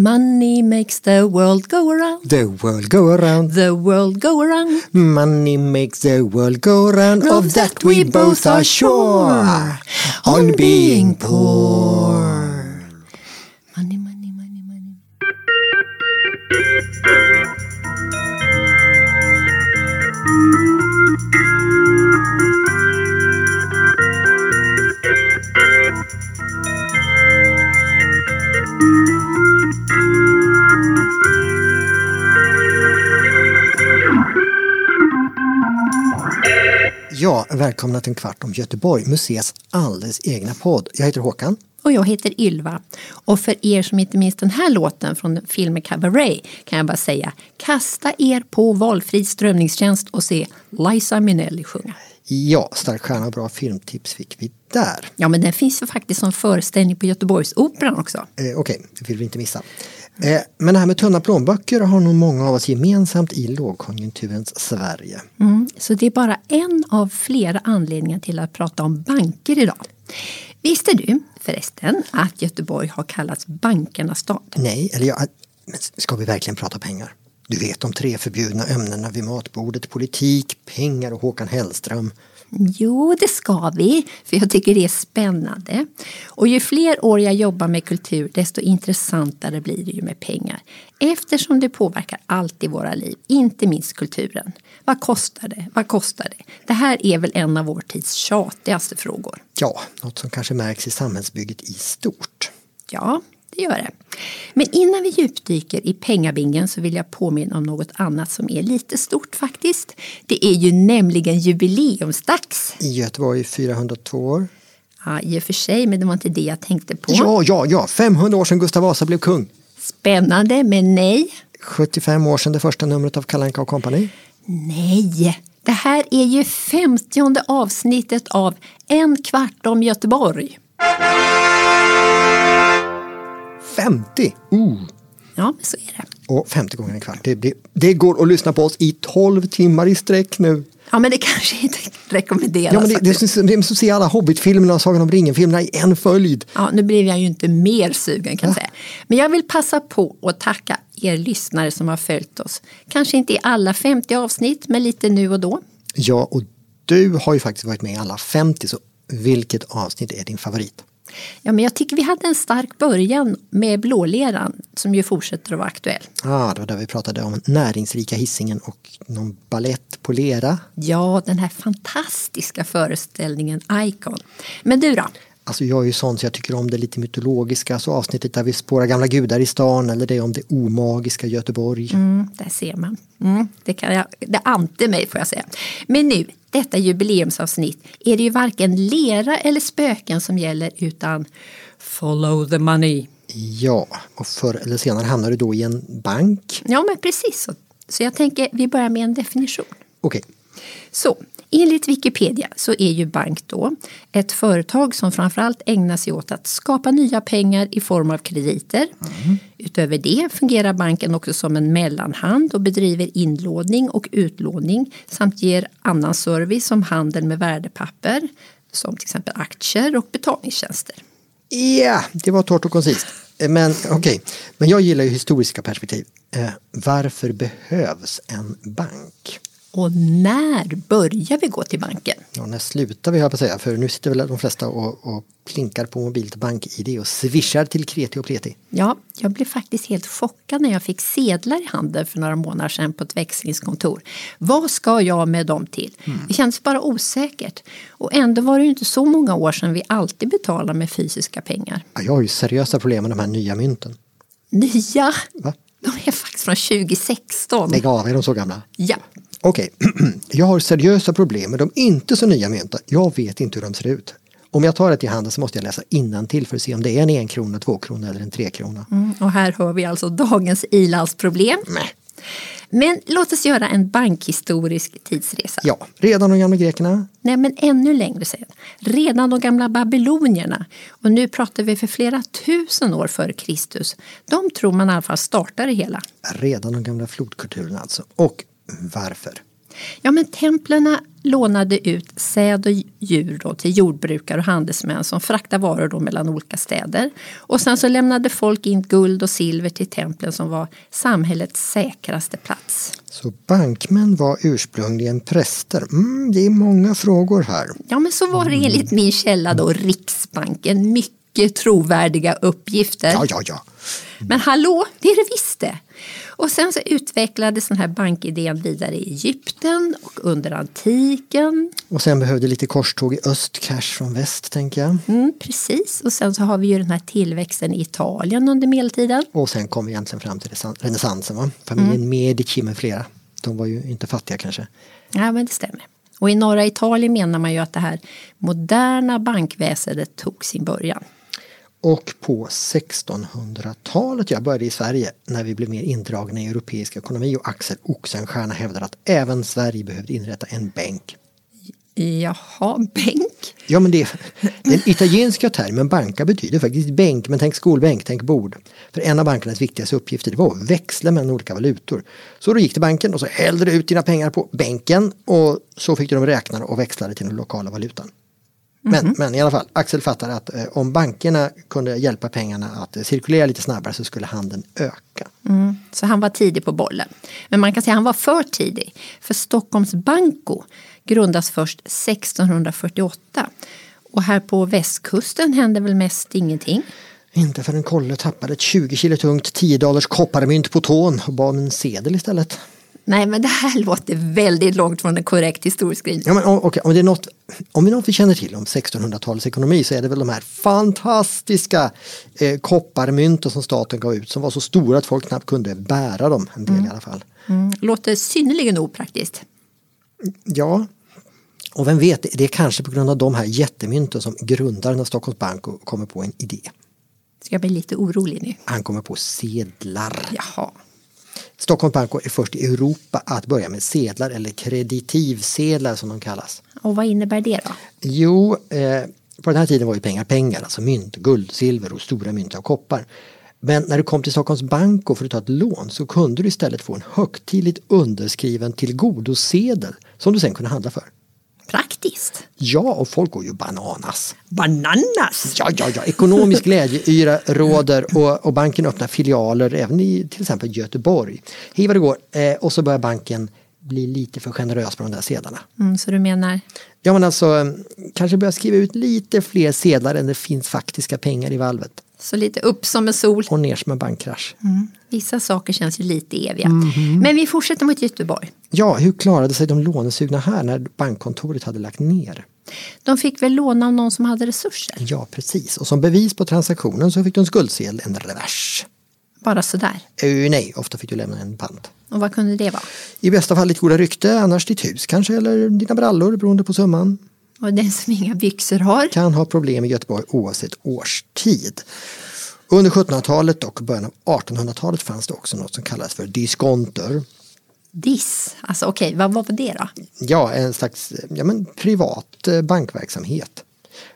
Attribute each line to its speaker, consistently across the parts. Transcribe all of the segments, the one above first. Speaker 1: Money makes the world go around.
Speaker 2: The world go around.
Speaker 1: The world go around.
Speaker 2: Money makes the world go round.
Speaker 1: Of
Speaker 2: Of that we both are sure. On being poor.
Speaker 1: Money, money, money, money.
Speaker 2: Ja, välkomna till en kvart om Göteborg, museets alldeles egna podd. Jag heter Håkan.
Speaker 1: Och jag heter Ylva. Och för er som inte minns den här låten från filmen Cabaret kan jag bara säga kasta er på valfri strömningstjänst och se Liza Minnelli sjunga.
Speaker 2: Ja, stark stjärna och bra filmtips fick vi där.
Speaker 1: Ja, men den finns ju faktiskt som föreställning på Göteborgsoperan också.
Speaker 2: Eh, Okej, det vill vi inte missa. Eh, men det här med tunna plånböcker har nog många av oss gemensamt i lågkonjunkturens Sverige.
Speaker 1: Mm, så det är bara en av flera anledningar till att prata om banker idag. Visste du förresten att Göteborg har kallats bankernas stad?
Speaker 2: Nej, eller jag... Men ska vi verkligen prata pengar? Du vet de tre förbjudna ämnena vid matbordet, politik, pengar och Håkan Hellström.
Speaker 1: Jo, det ska vi, för jag tycker det är spännande. Och ju fler år jag jobbar med kultur, desto intressantare blir det ju med pengar. Eftersom det påverkar allt i våra liv, inte minst kulturen. Vad kostar det? Vad kostar det? Det här är väl en av vår tids tjatigaste frågor.
Speaker 2: Ja, något som kanske märks i samhällsbygget i stort.
Speaker 1: Ja, det gör det. Men innan vi djupdyker i pengabingen så vill jag påminna om något annat som är lite stort faktiskt. Det är ju nämligen jubileumsdags.
Speaker 2: I Göteborg 402 år.
Speaker 1: Ja, I och för sig, men det var inte det jag tänkte på.
Speaker 2: Ja, ja, ja! 500 år sedan Gustav Vasa blev kung.
Speaker 1: Spännande, men nej.
Speaker 2: 75 år sedan det första numret av Kalle Anka och Company.
Speaker 1: Nej! Det här är ju femtionde avsnittet av En kvart om Göteborg.
Speaker 2: 50! Uh.
Speaker 1: Ja, så är det.
Speaker 2: Och 50 gånger en kvart. Det, det, det går att lyssna på oss i 12 timmar i sträck nu.
Speaker 1: Ja, men det kanske inte rekommenderas.
Speaker 2: Ja, men det, det,
Speaker 1: faktiskt.
Speaker 2: det, det, det är som att se alla Hobbit-filmerna och Sagan om ringen-filmerna i en följd.
Speaker 1: Ja, nu blev jag ju inte mer sugen kan jag säga. Men jag vill passa på att tacka er lyssnare som har följt oss. Kanske inte i alla 50 avsnitt, men lite nu och då.
Speaker 2: Ja, och du har ju faktiskt varit med i alla 50, så vilket avsnitt är din favorit?
Speaker 1: Ja, men jag tycker vi hade en stark början med blåleran som ju fortsätter att vara aktuell.
Speaker 2: Ah, det var där vi pratade om näringsrika hissingen och någon ballett på lera.
Speaker 1: Ja, den här fantastiska föreställningen Icon. Men du då?
Speaker 2: Alltså jag är ju sån så jag tycker om det lite mytologiska, så avsnittet där vi spårar gamla gudar i stan eller det om det omagiska Göteborg.
Speaker 1: Mm, där ser man. Mm, det, kan jag, det ante mig får jag säga. Men nu, detta jubileumsavsnitt är det ju varken lera eller spöken som gäller utan follow the money.
Speaker 2: Ja, och förr eller senare hamnar du då i en bank.
Speaker 1: Ja, men precis så. Så jag tänker vi börjar med en definition.
Speaker 2: Okej,
Speaker 1: Så, enligt Wikipedia så är ju bank då ett företag som framförallt ägnar sig åt att skapa nya pengar i form av krediter. Utöver det fungerar banken också som en mellanhand och bedriver inlåning och utlåning samt ger annan service som handel med värdepapper som till exempel aktier och betalningstjänster.
Speaker 2: ja, det var torrt och koncist. Eh, Men okej, men jag gillar ju historiska perspektiv. Eh, varför behövs en bank?
Speaker 1: Och när börjar vi gå till banken?
Speaker 2: Ja, när slutar vi höll jag på att säga, för nu sitter väl de flesta och, och plinkar på mobilt bank-id och swishar till kreti och pleti.
Speaker 1: Ja, jag blev faktiskt helt chockad när jag fick sedlar i handen för några månader sedan på ett växlingskontor. Vad ska jag med dem till?
Speaker 2: Mm.
Speaker 1: Det kändes bara osäkert. Och ändå var det ju inte så många år sedan vi alltid betalade med fysiska pengar.
Speaker 2: Ja, jag har ju seriösa problem med de här nya mynten.
Speaker 1: Nya!
Speaker 2: Va?
Speaker 1: De är faktiskt från 2016.
Speaker 2: Lägg av, är de så gamla?
Speaker 1: Ja.
Speaker 2: Okej, jag har seriösa problem med de inte så nya mynten. Jag vet inte hur de ser ut. Om jag tar ett i handen så måste jag läsa innantill för att se om det är en enkrona, tvåkrona eller en trekrona.
Speaker 1: Mm, och här hör vi alltså dagens ilandsproblem. Men låt oss göra en bankhistorisk tidsresa.
Speaker 2: Ja, redan de gamla grekerna.
Speaker 1: Nej, men ännu längre sedan. Redan de gamla babylonierna, och nu pratar vi för flera tusen år före Kristus, de tror man i alla fall startade det hela.
Speaker 2: Redan de gamla flodkulturerna alltså. Och varför?
Speaker 1: Ja, men templerna lånade ut säd och djur då till jordbrukare och handelsmän som fraktade varor då mellan olika städer. Och sen så lämnade folk in guld och silver till templen som var samhällets säkraste plats.
Speaker 2: Så bankmän var ursprungligen präster. Mm, det är många frågor här.
Speaker 1: Ja, men så var det enligt min källa då, Riksbanken. Mycket trovärdiga uppgifter.
Speaker 2: Ja, ja, ja.
Speaker 1: Men hallå, det är det visst det! Och sen så utvecklades den här bankidén vidare i Egypten och under antiken.
Speaker 2: Och sen behövde lite korståg i öst, cash från väst tänker jag.
Speaker 1: Mm, precis, och sen så har vi ju den här tillväxten i Italien under medeltiden.
Speaker 2: Och sen kom vi egentligen fram till resan- renässansen. Va? Familjen Medici med flera. De var ju inte fattiga kanske.
Speaker 1: Ja, men det stämmer. Och i norra Italien menar man ju att det här moderna bankväsendet tog sin början.
Speaker 2: Och på 1600-talet, jag började i Sverige, när vi blev mer indragna i europeisk ekonomi och Axel Oxenstierna hävdade att även Sverige behövde inrätta en bänk.
Speaker 1: Jaha, bänk?
Speaker 2: Ja men det, den italienska termen banka betyder faktiskt bänk, men tänk skolbänk, tänk bord. För en av bankernas viktigaste uppgifter det var att växla mellan olika valutor. Så då gick till banken och så hällde du ut dina pengar på bänken och så fick du dem räknade och växlade till den lokala valutan. Men, men i alla fall, Axel fattar att eh, om bankerna kunde hjälpa pengarna att eh, cirkulera lite snabbare så skulle handeln öka.
Speaker 1: Mm. Så han var tidig på bollen. Men man kan säga att han var för tidig. För Stockholms Banko grundas först 1648. Och här på västkusten hände väl mest ingenting.
Speaker 2: Inte förrän Kolle tappade ett 20 kilo tungt 10 dollars kopparmynt på tån och bad om en sedel istället.
Speaker 1: Nej, men det här låter väldigt långt från en korrekt historieskrivning.
Speaker 2: Ja, men, o- okej, om, det är något, om det är något vi känner till om 1600-talets ekonomi så är det väl de här fantastiska eh, kopparmynten som staten gav ut som var så stora att folk knappt kunde bära dem, en del i alla fall.
Speaker 1: Mm. Låter synnerligen opraktiskt.
Speaker 2: Ja, och vem vet, det är kanske på grund av de här jättemynten som grundaren av Stockholms Bank och kommer på en idé.
Speaker 1: Ska jag bli lite orolig nu?
Speaker 2: Han kommer på sedlar.
Speaker 1: Jaha.
Speaker 2: Stockholms Bank är först i Europa att börja med sedlar eller kreditivsedlar som de kallas.
Speaker 1: Och vad innebär det då?
Speaker 2: Jo, eh, på den här tiden var ju pengar pengar, alltså mynt, guld, silver och stora mynt av koppar. Men när du kom till Stockholms bank och för att ta ett lån så kunde du istället få en högtidligt underskriven tillgodosedel som du sen kunde handla för.
Speaker 1: Praktiskt.
Speaker 2: Ja, och folk går ju bananas.
Speaker 1: Bananas!
Speaker 2: Ja, ja, ja, ekonomisk glädjeyra råder och, och banken öppnar filialer även i till exempel Göteborg. Hej vad det går! Eh, och så börjar banken bli lite för generös med de där sedlarna.
Speaker 1: Mm, så du menar?
Speaker 2: Ja men alltså, eh, kanske börja skriva ut lite fler sedlar än det finns faktiska pengar i valvet.
Speaker 1: Så lite upp som en sol.
Speaker 2: Och ner som en bankkrasch.
Speaker 1: Vissa saker känns ju lite eviga. Men vi fortsätter mot Göteborg.
Speaker 2: Ja, hur klarade sig de lånesugna här när bankkontoret hade lagt ner?
Speaker 1: De fick väl låna av någon som hade resurser.
Speaker 2: Ja, precis. Och som bevis på transaktionen så fick du en skuldsedel, en revers.
Speaker 1: Bara sådär.
Speaker 2: Eh, nej, ofta fick du lämna en pant.
Speaker 1: Och vad kunde det vara?
Speaker 2: I bästa fall ditt goda rykte, annars ditt hus kanske, eller dina brallor beroende på summan.
Speaker 1: Och den som inga byxor har.
Speaker 2: Kan ha problem i Göteborg oavsett årstid. Under 1700-talet och början av 1800-talet fanns det också något som kallades för diskonter.
Speaker 1: Diss. Alltså okej, vad var det då?
Speaker 2: ja, en slags ja, men privat eh, bankverksamhet.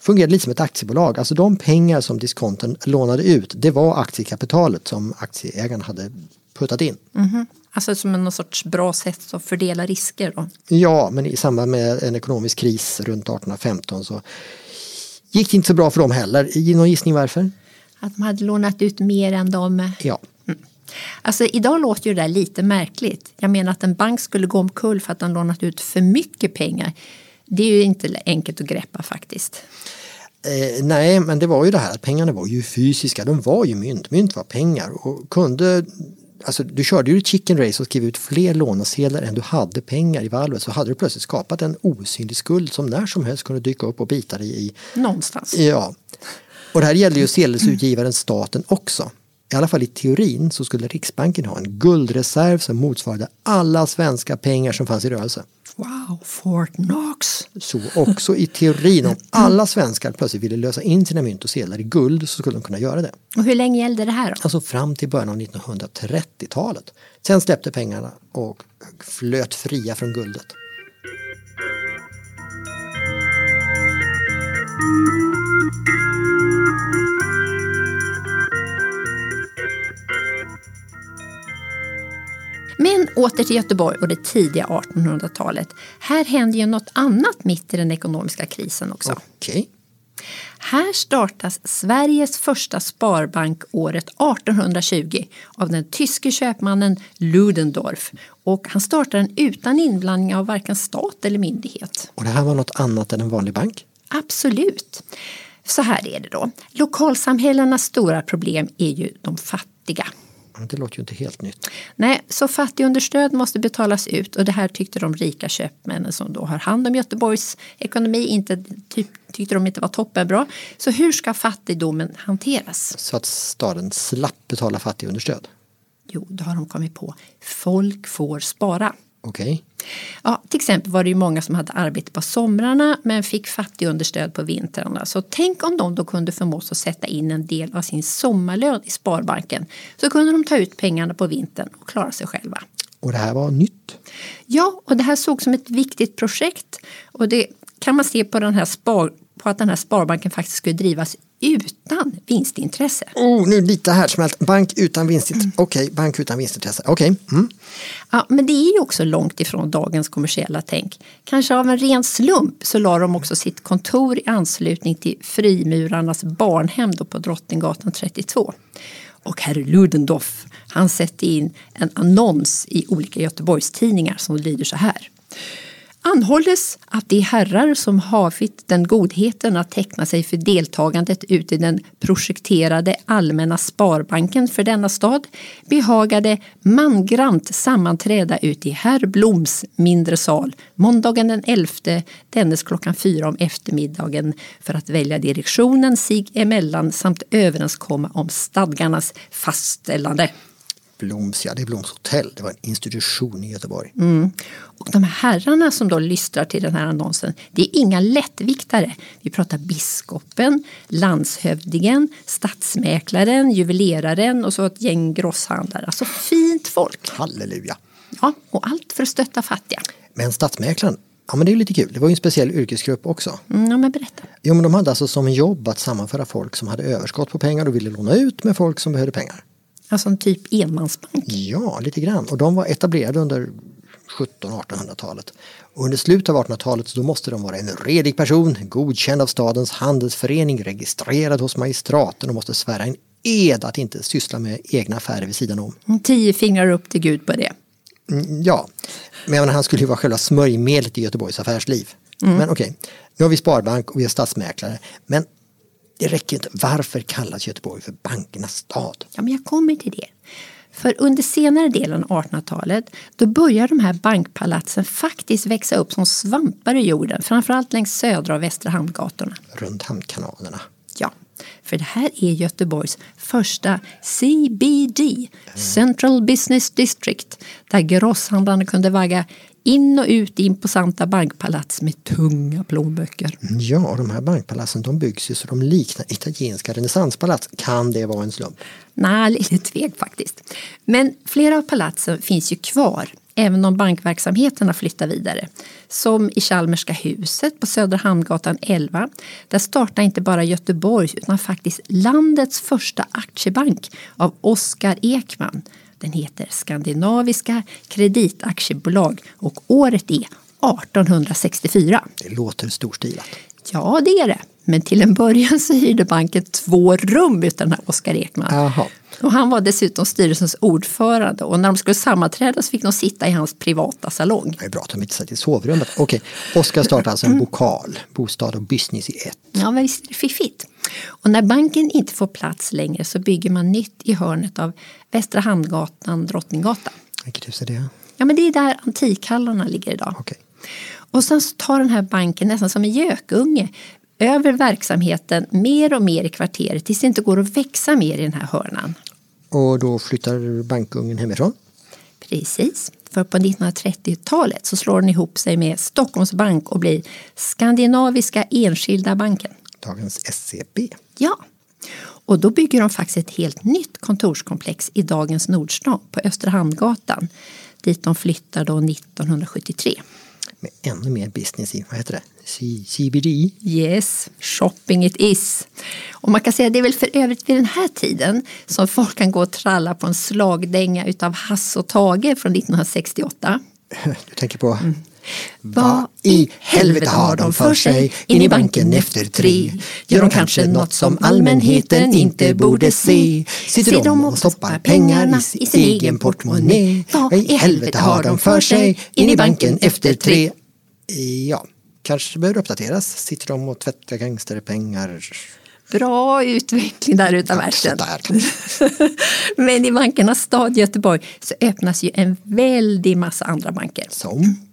Speaker 2: Fungerade lite som ett aktiebolag, alltså de pengar som diskonten lånade ut det var aktiekapitalet som aktieägarna hade puttat in.
Speaker 1: Alltså som en någon sorts bra sätt att fördela risker då.
Speaker 2: Ja, men i samband med en ekonomisk kris runt 1815 så gick det inte så bra för dem heller. Ge Någon gissning varför?
Speaker 1: Att de hade lånat ut mer än de...
Speaker 2: Ja,
Speaker 1: Alltså idag låter ju det där lite märkligt. Jag menar att en bank skulle gå omkull för att den lånat ut för mycket pengar. Det är ju inte enkelt att greppa faktiskt.
Speaker 2: Eh, nej, men det var ju det här att pengarna var ju fysiska. De var ju mynt. Mynt var pengar. Och kunde, alltså, du körde ju ett chicken race och skrev ut fler lånesedlar än du hade pengar i valvet. Så hade du plötsligt skapat en osynlig skuld som när som helst kunde dyka upp och bita dig i.
Speaker 1: Någonstans.
Speaker 2: Ja. Och det här gällde ju sedelsutgivaren staten också. I alla fall i teorin så skulle Riksbanken ha en guldreserv som motsvarade alla svenska pengar som fanns i rörelse.
Speaker 1: Wow, Fort Knox.
Speaker 2: Så också i teorin, om alla svenskar plötsligt ville lösa in sina mynt och sedlar i guld så skulle de kunna göra det.
Speaker 1: Och hur länge gällde det här då?
Speaker 2: Alltså fram till början av 1930-talet. Sen släppte pengarna och flöt fria från guldet.
Speaker 1: Men åter till Göteborg och det tidiga 1800-talet. Här händer ju något annat mitt i den ekonomiska krisen också.
Speaker 2: Okej.
Speaker 1: Här startas Sveriges första sparbank året 1820 av den tyske köpmannen Ludendorff. Och han startar den utan inblandning av varken stat eller myndighet.
Speaker 2: Och det här var något annat än en vanlig bank?
Speaker 1: Absolut. Så här är det då. Lokalsamhällenas stora problem är ju de fattiga.
Speaker 2: Ja, Det låter ju inte helt nytt.
Speaker 1: Nej, så fattigunderstöd måste betalas ut och det här tyckte de rika köpmännen som då har hand om Göteborgs ekonomi inte, typ, tyckte de inte var toppenbra. Så hur ska fattigdomen hanteras?
Speaker 2: Så att staden slapp betala fattigunderstöd?
Speaker 1: Jo, då har de kommit på folk får spara.
Speaker 2: Okej.
Speaker 1: Ja, till exempel var det ju många som hade arbete på somrarna men fick fattigunderstöd på vintrarna. Så tänk om de då kunde förmås att sätta in en del av sin sommarlön i Sparbanken. Så kunde de ta ut pengarna på vintern och klara sig själva.
Speaker 2: Och det här var nytt?
Speaker 1: Ja, och det här såg som ett viktigt projekt. Och det kan man se på, den här spar, på att den här Sparbanken faktiskt skulle drivas utan vinstintresse.
Speaker 2: Oh, nu lite härdsmält. Bank utan vinstintresse. Okej, bank utan vinstintresse. Okej. Mm.
Speaker 1: Ja, men det är ju också långt ifrån dagens kommersiella tänk. Kanske av en ren slump så la de också sitt kontor i anslutning till frimurarnas barnhem då på Drottninggatan 32. Och herr Ludendorff, han sätter in en annons i olika Göteborgstidningar som lyder så här. Anhålles att de herrar som havit den godheten att teckna sig för deltagandet ut i den projekterade allmänna sparbanken för denna stad behagade mangrant sammanträda ut i herr Bloms mindre sal måndagen den 11 dennes klockan fyra om eftermiddagen för att välja direktionen sig emellan samt överenskomma om stadgarnas fastställande.
Speaker 2: Bloms, ja det är Bloms hotell. Det var en institution i Göteborg.
Speaker 1: Mm. Och de här herrarna som då lystrar till den här annonsen, det är inga lättviktare. Vi pratar biskopen, landshövdingen, stadsmäklaren, juveleraren och så ett gäng grosshandlare. Alltså fint folk.
Speaker 2: Halleluja.
Speaker 1: Ja, och allt för att stötta fattiga.
Speaker 2: Men stadsmäklaren, ja men det är ju lite kul. Det var ju en speciell yrkesgrupp också.
Speaker 1: Mm, ja, men berätta.
Speaker 2: Jo men de hade alltså som jobb att sammanföra folk som hade överskott på pengar och ville låna ut med folk som behövde pengar.
Speaker 1: Alltså en typ enmansbank.
Speaker 2: Ja, lite grann. Och de var etablerade under 1700-1800-talet. Och under slutet av 1800-talet så då måste de vara en redig person, godkänd av stadens handelsförening, registrerad hos magistraten och måste svära en ed att inte syssla med egna affärer vid sidan om.
Speaker 1: Tio fingrar upp till Gud på det.
Speaker 2: Mm, ja, men jag menar, han skulle ju vara själva smörjmedlet i Göteborgs affärsliv. Men okej, nu har vi sparbank och vi har stadsmäklare. Men det räcker inte. Varför kallas Göteborg för bankernas stad?
Speaker 1: Ja, men jag kommer till det. För under senare delen av 1800-talet då börjar de här bankpalatsen faktiskt växa upp som svampar i jorden, framförallt längs södra och västra Hamngatan.
Speaker 2: Runt hamnkanalerna.
Speaker 1: Ja, för det här är Göteborgs första CBD, Central Business District, där grosshandlarna kunde vagga in och ut i imposanta bankpalats med tunga plånböcker.
Speaker 2: Mm, Ja, och de här bankpalatsen de byggs ju så de liknar italienska renässanspalats. Kan det vara en slump?
Speaker 1: Nej, lite tveg faktiskt. Men flera av palatsen finns ju kvar, även om bankverksamheten har flyttat vidare. Som i Chalmerska huset på Södra Hamngatan 11. Där startade inte bara Göteborgs utan faktiskt landets första aktiebank av Oskar Ekman. Den heter Skandinaviska kreditaktiebolag och året är 1864.
Speaker 2: Det låter storstilat.
Speaker 1: Ja, det är det. Men till en början så hyrde banken två rum utan den här Oskar Ekman.
Speaker 2: Jaha.
Speaker 1: Och han var dessutom styrelsens ordförande och när de skulle sammanträda så fick de sitta i hans privata salong.
Speaker 2: Det är bra att de inte satt i sovrummet. Okej, Oskar startar alltså en bokal, bostad och business i ett.
Speaker 1: Ja, men visst är det fiffigt. Och när banken inte får plats längre så bygger man nytt i hörnet av Västra Hamngatan, Drottninggatan.
Speaker 2: Vilket hus är det?
Speaker 1: Ja, men det är där antikhallarna ligger idag.
Speaker 2: Okej.
Speaker 1: Och sen så tar den här banken nästan som en gökunge över verksamheten mer och mer i kvarteret tills det inte går att växa mer i den här hörnan.
Speaker 2: Och då flyttar bankungen hemifrån.
Speaker 1: Precis, för på 1930-talet så slår den ihop sig med Stockholms bank och blir Skandinaviska Enskilda banken.
Speaker 2: Dagens SCB.
Speaker 1: Ja, och då bygger de faktiskt ett helt nytt kontorskomplex i dagens Nordstan på Österhamngatan dit de flyttar då 1973.
Speaker 2: med ännu mer business i, vad heter det, C- CBD.
Speaker 1: Yes, shopping it is. Och man kan säga att det är väl för övrigt vid den här tiden som folk kan gå och tralla på en slagdänga utav Hasse och Tage från 1968.
Speaker 2: Du tänker på Mm. Vad i helvete har de för sig in i banken efter tre? Gör de kanske något som allmänheten inte borde se? Sitter de och stoppar pengarna i sin egen portmonnä? Vad i helvete har de för sig in i banken efter tre? Ja, kanske behöver uppdateras. Sitter de och tvättar gangsterpengar?
Speaker 1: Bra utveckling där utav världen.
Speaker 2: Sådär.
Speaker 1: Men i bankernas stad Göteborg så öppnas ju en väldig massa andra banker.
Speaker 2: Som?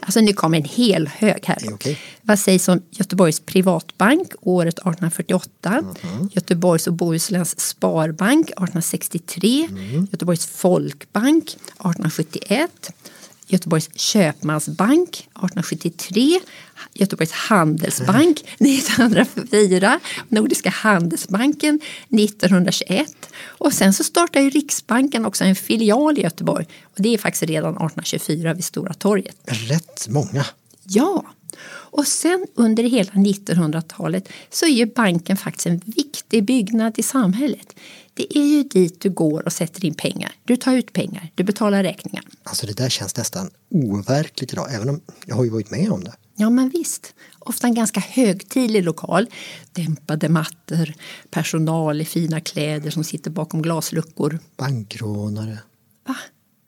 Speaker 1: Alltså nu kommer en hel hög här.
Speaker 2: Okej.
Speaker 1: Vad sägs om Göteborgs privatbank året 1848?
Speaker 2: Mm-hmm.
Speaker 1: Göteborgs och Bohusläns sparbank 1863?
Speaker 2: Mm.
Speaker 1: Göteborgs folkbank 1871? Göteborgs köpmansbank 1873, Göteborgs handelsbank 1904, Nordiska handelsbanken 1921 och sen så startar ju Riksbanken också en filial i Göteborg och det är faktiskt redan 1824 vid Stora torget.
Speaker 2: Rätt många.
Speaker 1: Ja, och sen under hela 1900-talet så är ju banken faktiskt en viktig byggnad i samhället. Det är ju dit du går och sätter in pengar. Du tar ut pengar, du betalar räkningar.
Speaker 2: Alltså det där känns nästan overkligt idag, även om jag har ju varit med om det.
Speaker 1: Ja, men visst. Ofta en ganska högtidlig lokal. Dämpade mattor, personal i fina kläder som sitter bakom glasluckor.
Speaker 2: Bankrånare.
Speaker 1: Va?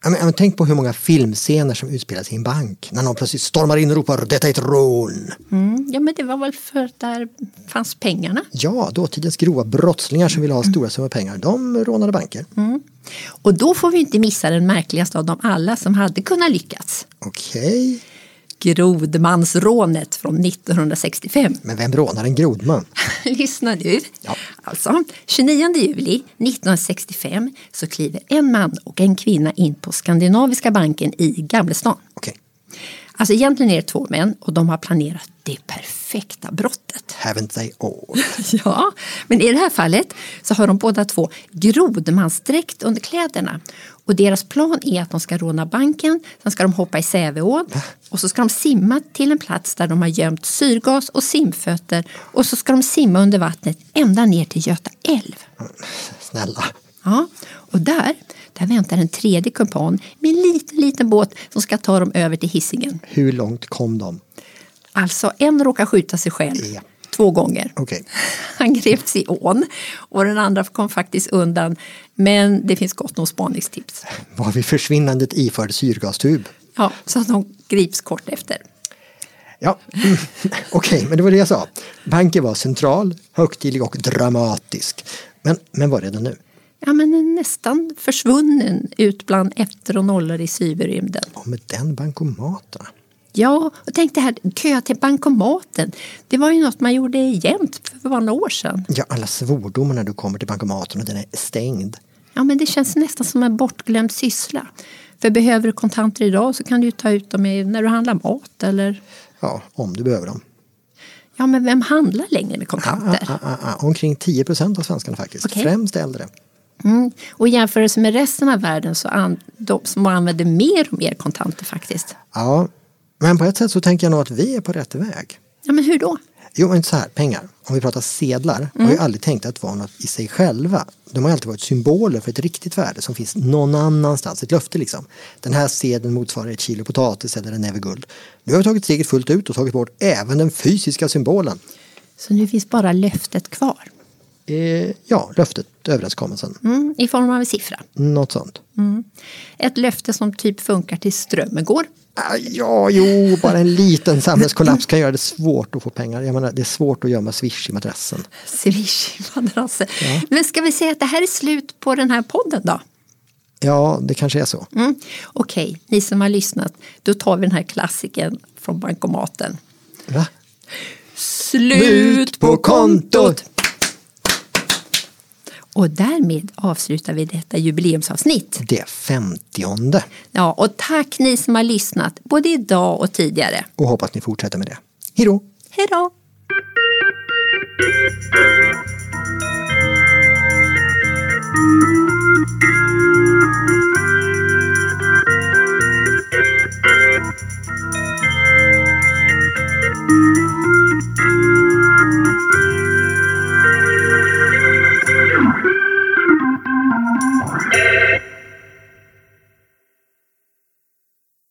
Speaker 2: Ja, men, ja, men tänk på hur många filmscener som utspelas i en bank när någon plötsligt stormar in och ropar “Detta är ett rån!”
Speaker 1: Mm. Ja, men det var väl för att där fanns pengarna.
Speaker 2: Ja, dåtidens grova brottslingar som ville ha stora summor pengar, de rånade banker.
Speaker 1: Och då får vi inte missa den märkligaste av dem alla som hade kunnat lyckas.
Speaker 2: Okej,
Speaker 1: Grodmansrånet från 1965.
Speaker 2: men vem rånar en grodman?
Speaker 1: Lyssna nu. Alltså, 29 juli 1965 så kliver en man och en kvinna in på Skandinaviska banken i Gamlestan.
Speaker 2: Okej,
Speaker 1: Alltså egentligen är det två män och de har planerat det perfekta brottet.
Speaker 2: haven't they all?
Speaker 1: Ja, men i det här fallet så har de båda två grodmansdräkt under kläderna. Och deras plan är att de ska råna banken, sen ska de hoppa i Säveån och så ska de simma till en plats där de har gömt syrgas och simfötter och så ska de simma under vattnet ända ner till Göta älv.
Speaker 2: Snälla.
Speaker 1: Ja, och där, där väntar en tredje kumpan med en liten, liten båt som ska ta dem över till Hisingen.
Speaker 2: Hur långt kom de?
Speaker 1: Alltså, en råkar skjuta sig själv
Speaker 2: Ja.
Speaker 1: två gånger.
Speaker 2: Okej,
Speaker 1: Han greps i ån och den andra kom faktiskt undan. Men det finns gott om spaningstips.
Speaker 2: var vid försvinnandet iförd syrgastub?
Speaker 1: Ja, så att de grips kort efter.
Speaker 2: Ja, mm. okej, men det var det jag sa. Banken var central, högtidlig och dramatisk. Men, men var är den nu?
Speaker 1: Ja, men är nästan försvunnen ut bland ettor och nollor i cyberrymden.
Speaker 2: Och med den bankomaten?
Speaker 1: Ja, och tänk det här kö till bankomaten. Det var ju något man gjorde jämt för bara några år sedan.
Speaker 2: Ja, alla svordomar när du kommer till bankomaten och den är stängd.
Speaker 1: Ja, men det känns nästan som en bortglömd syssla. För behöver du kontanter idag så kan du ju ta ut dem i- när du handlar mat eller
Speaker 2: Ja, om du behöver dem.
Speaker 1: Ja, men vem handlar längre med
Speaker 2: Ah,
Speaker 1: kontanter?
Speaker 2: ah, ah, ah. Omkring 10 procent av svenskarna faktiskt,
Speaker 1: Okej.
Speaker 2: främst äldre.
Speaker 1: Mm. Och i jämförelse med resten av världen så an, de som använder mer och mer kontanter faktiskt.
Speaker 2: Ja, men på ett sätt så tänker jag nog att vi är på rätt väg.
Speaker 1: Ja, men hur då?
Speaker 2: Jo, men så här, pengar. Om vi pratar sedlar har ju
Speaker 1: Mm.
Speaker 2: aldrig tänkt att vara något i sig själva. De har alltid varit symboler för ett riktigt värde som finns någon annanstans, ett löfte liksom. Den här sedeln motsvarar ett kilo potatis eller en näve guld. Nu har vi tagit steget fullt ut och tagit bort även den fysiska symbolen.
Speaker 1: Så nu finns bara löftet kvar.
Speaker 2: Eh, ja, löftet, överenskommelsen,
Speaker 1: Mm, I form av en siffra.
Speaker 2: något sånt.
Speaker 1: Ett löfte som typ funkar till strömmen går.
Speaker 2: Ah, Ja, jo, bara en liten samhällskollaps kan göra det svårt att få pengar. Jag menar, det är svårt att gömma swish i madrassen.
Speaker 1: Swish i madrassen. Men ska vi säga att det här är slut på den här podden då?
Speaker 2: Ja, det kanske är så.
Speaker 1: Mm. Okej, ni som har lyssnat, då tar vi den här klassiken från bankomaten.
Speaker 2: Va?
Speaker 1: Slut på kontot! Och därmed avslutar vi detta jubileumsavsnitt.
Speaker 2: Det femtionde.
Speaker 1: Ja, och tack ni som har lyssnat, både idag och tidigare.
Speaker 2: Och hoppas ni fortsätter med det. Hej då!
Speaker 1: Hej då!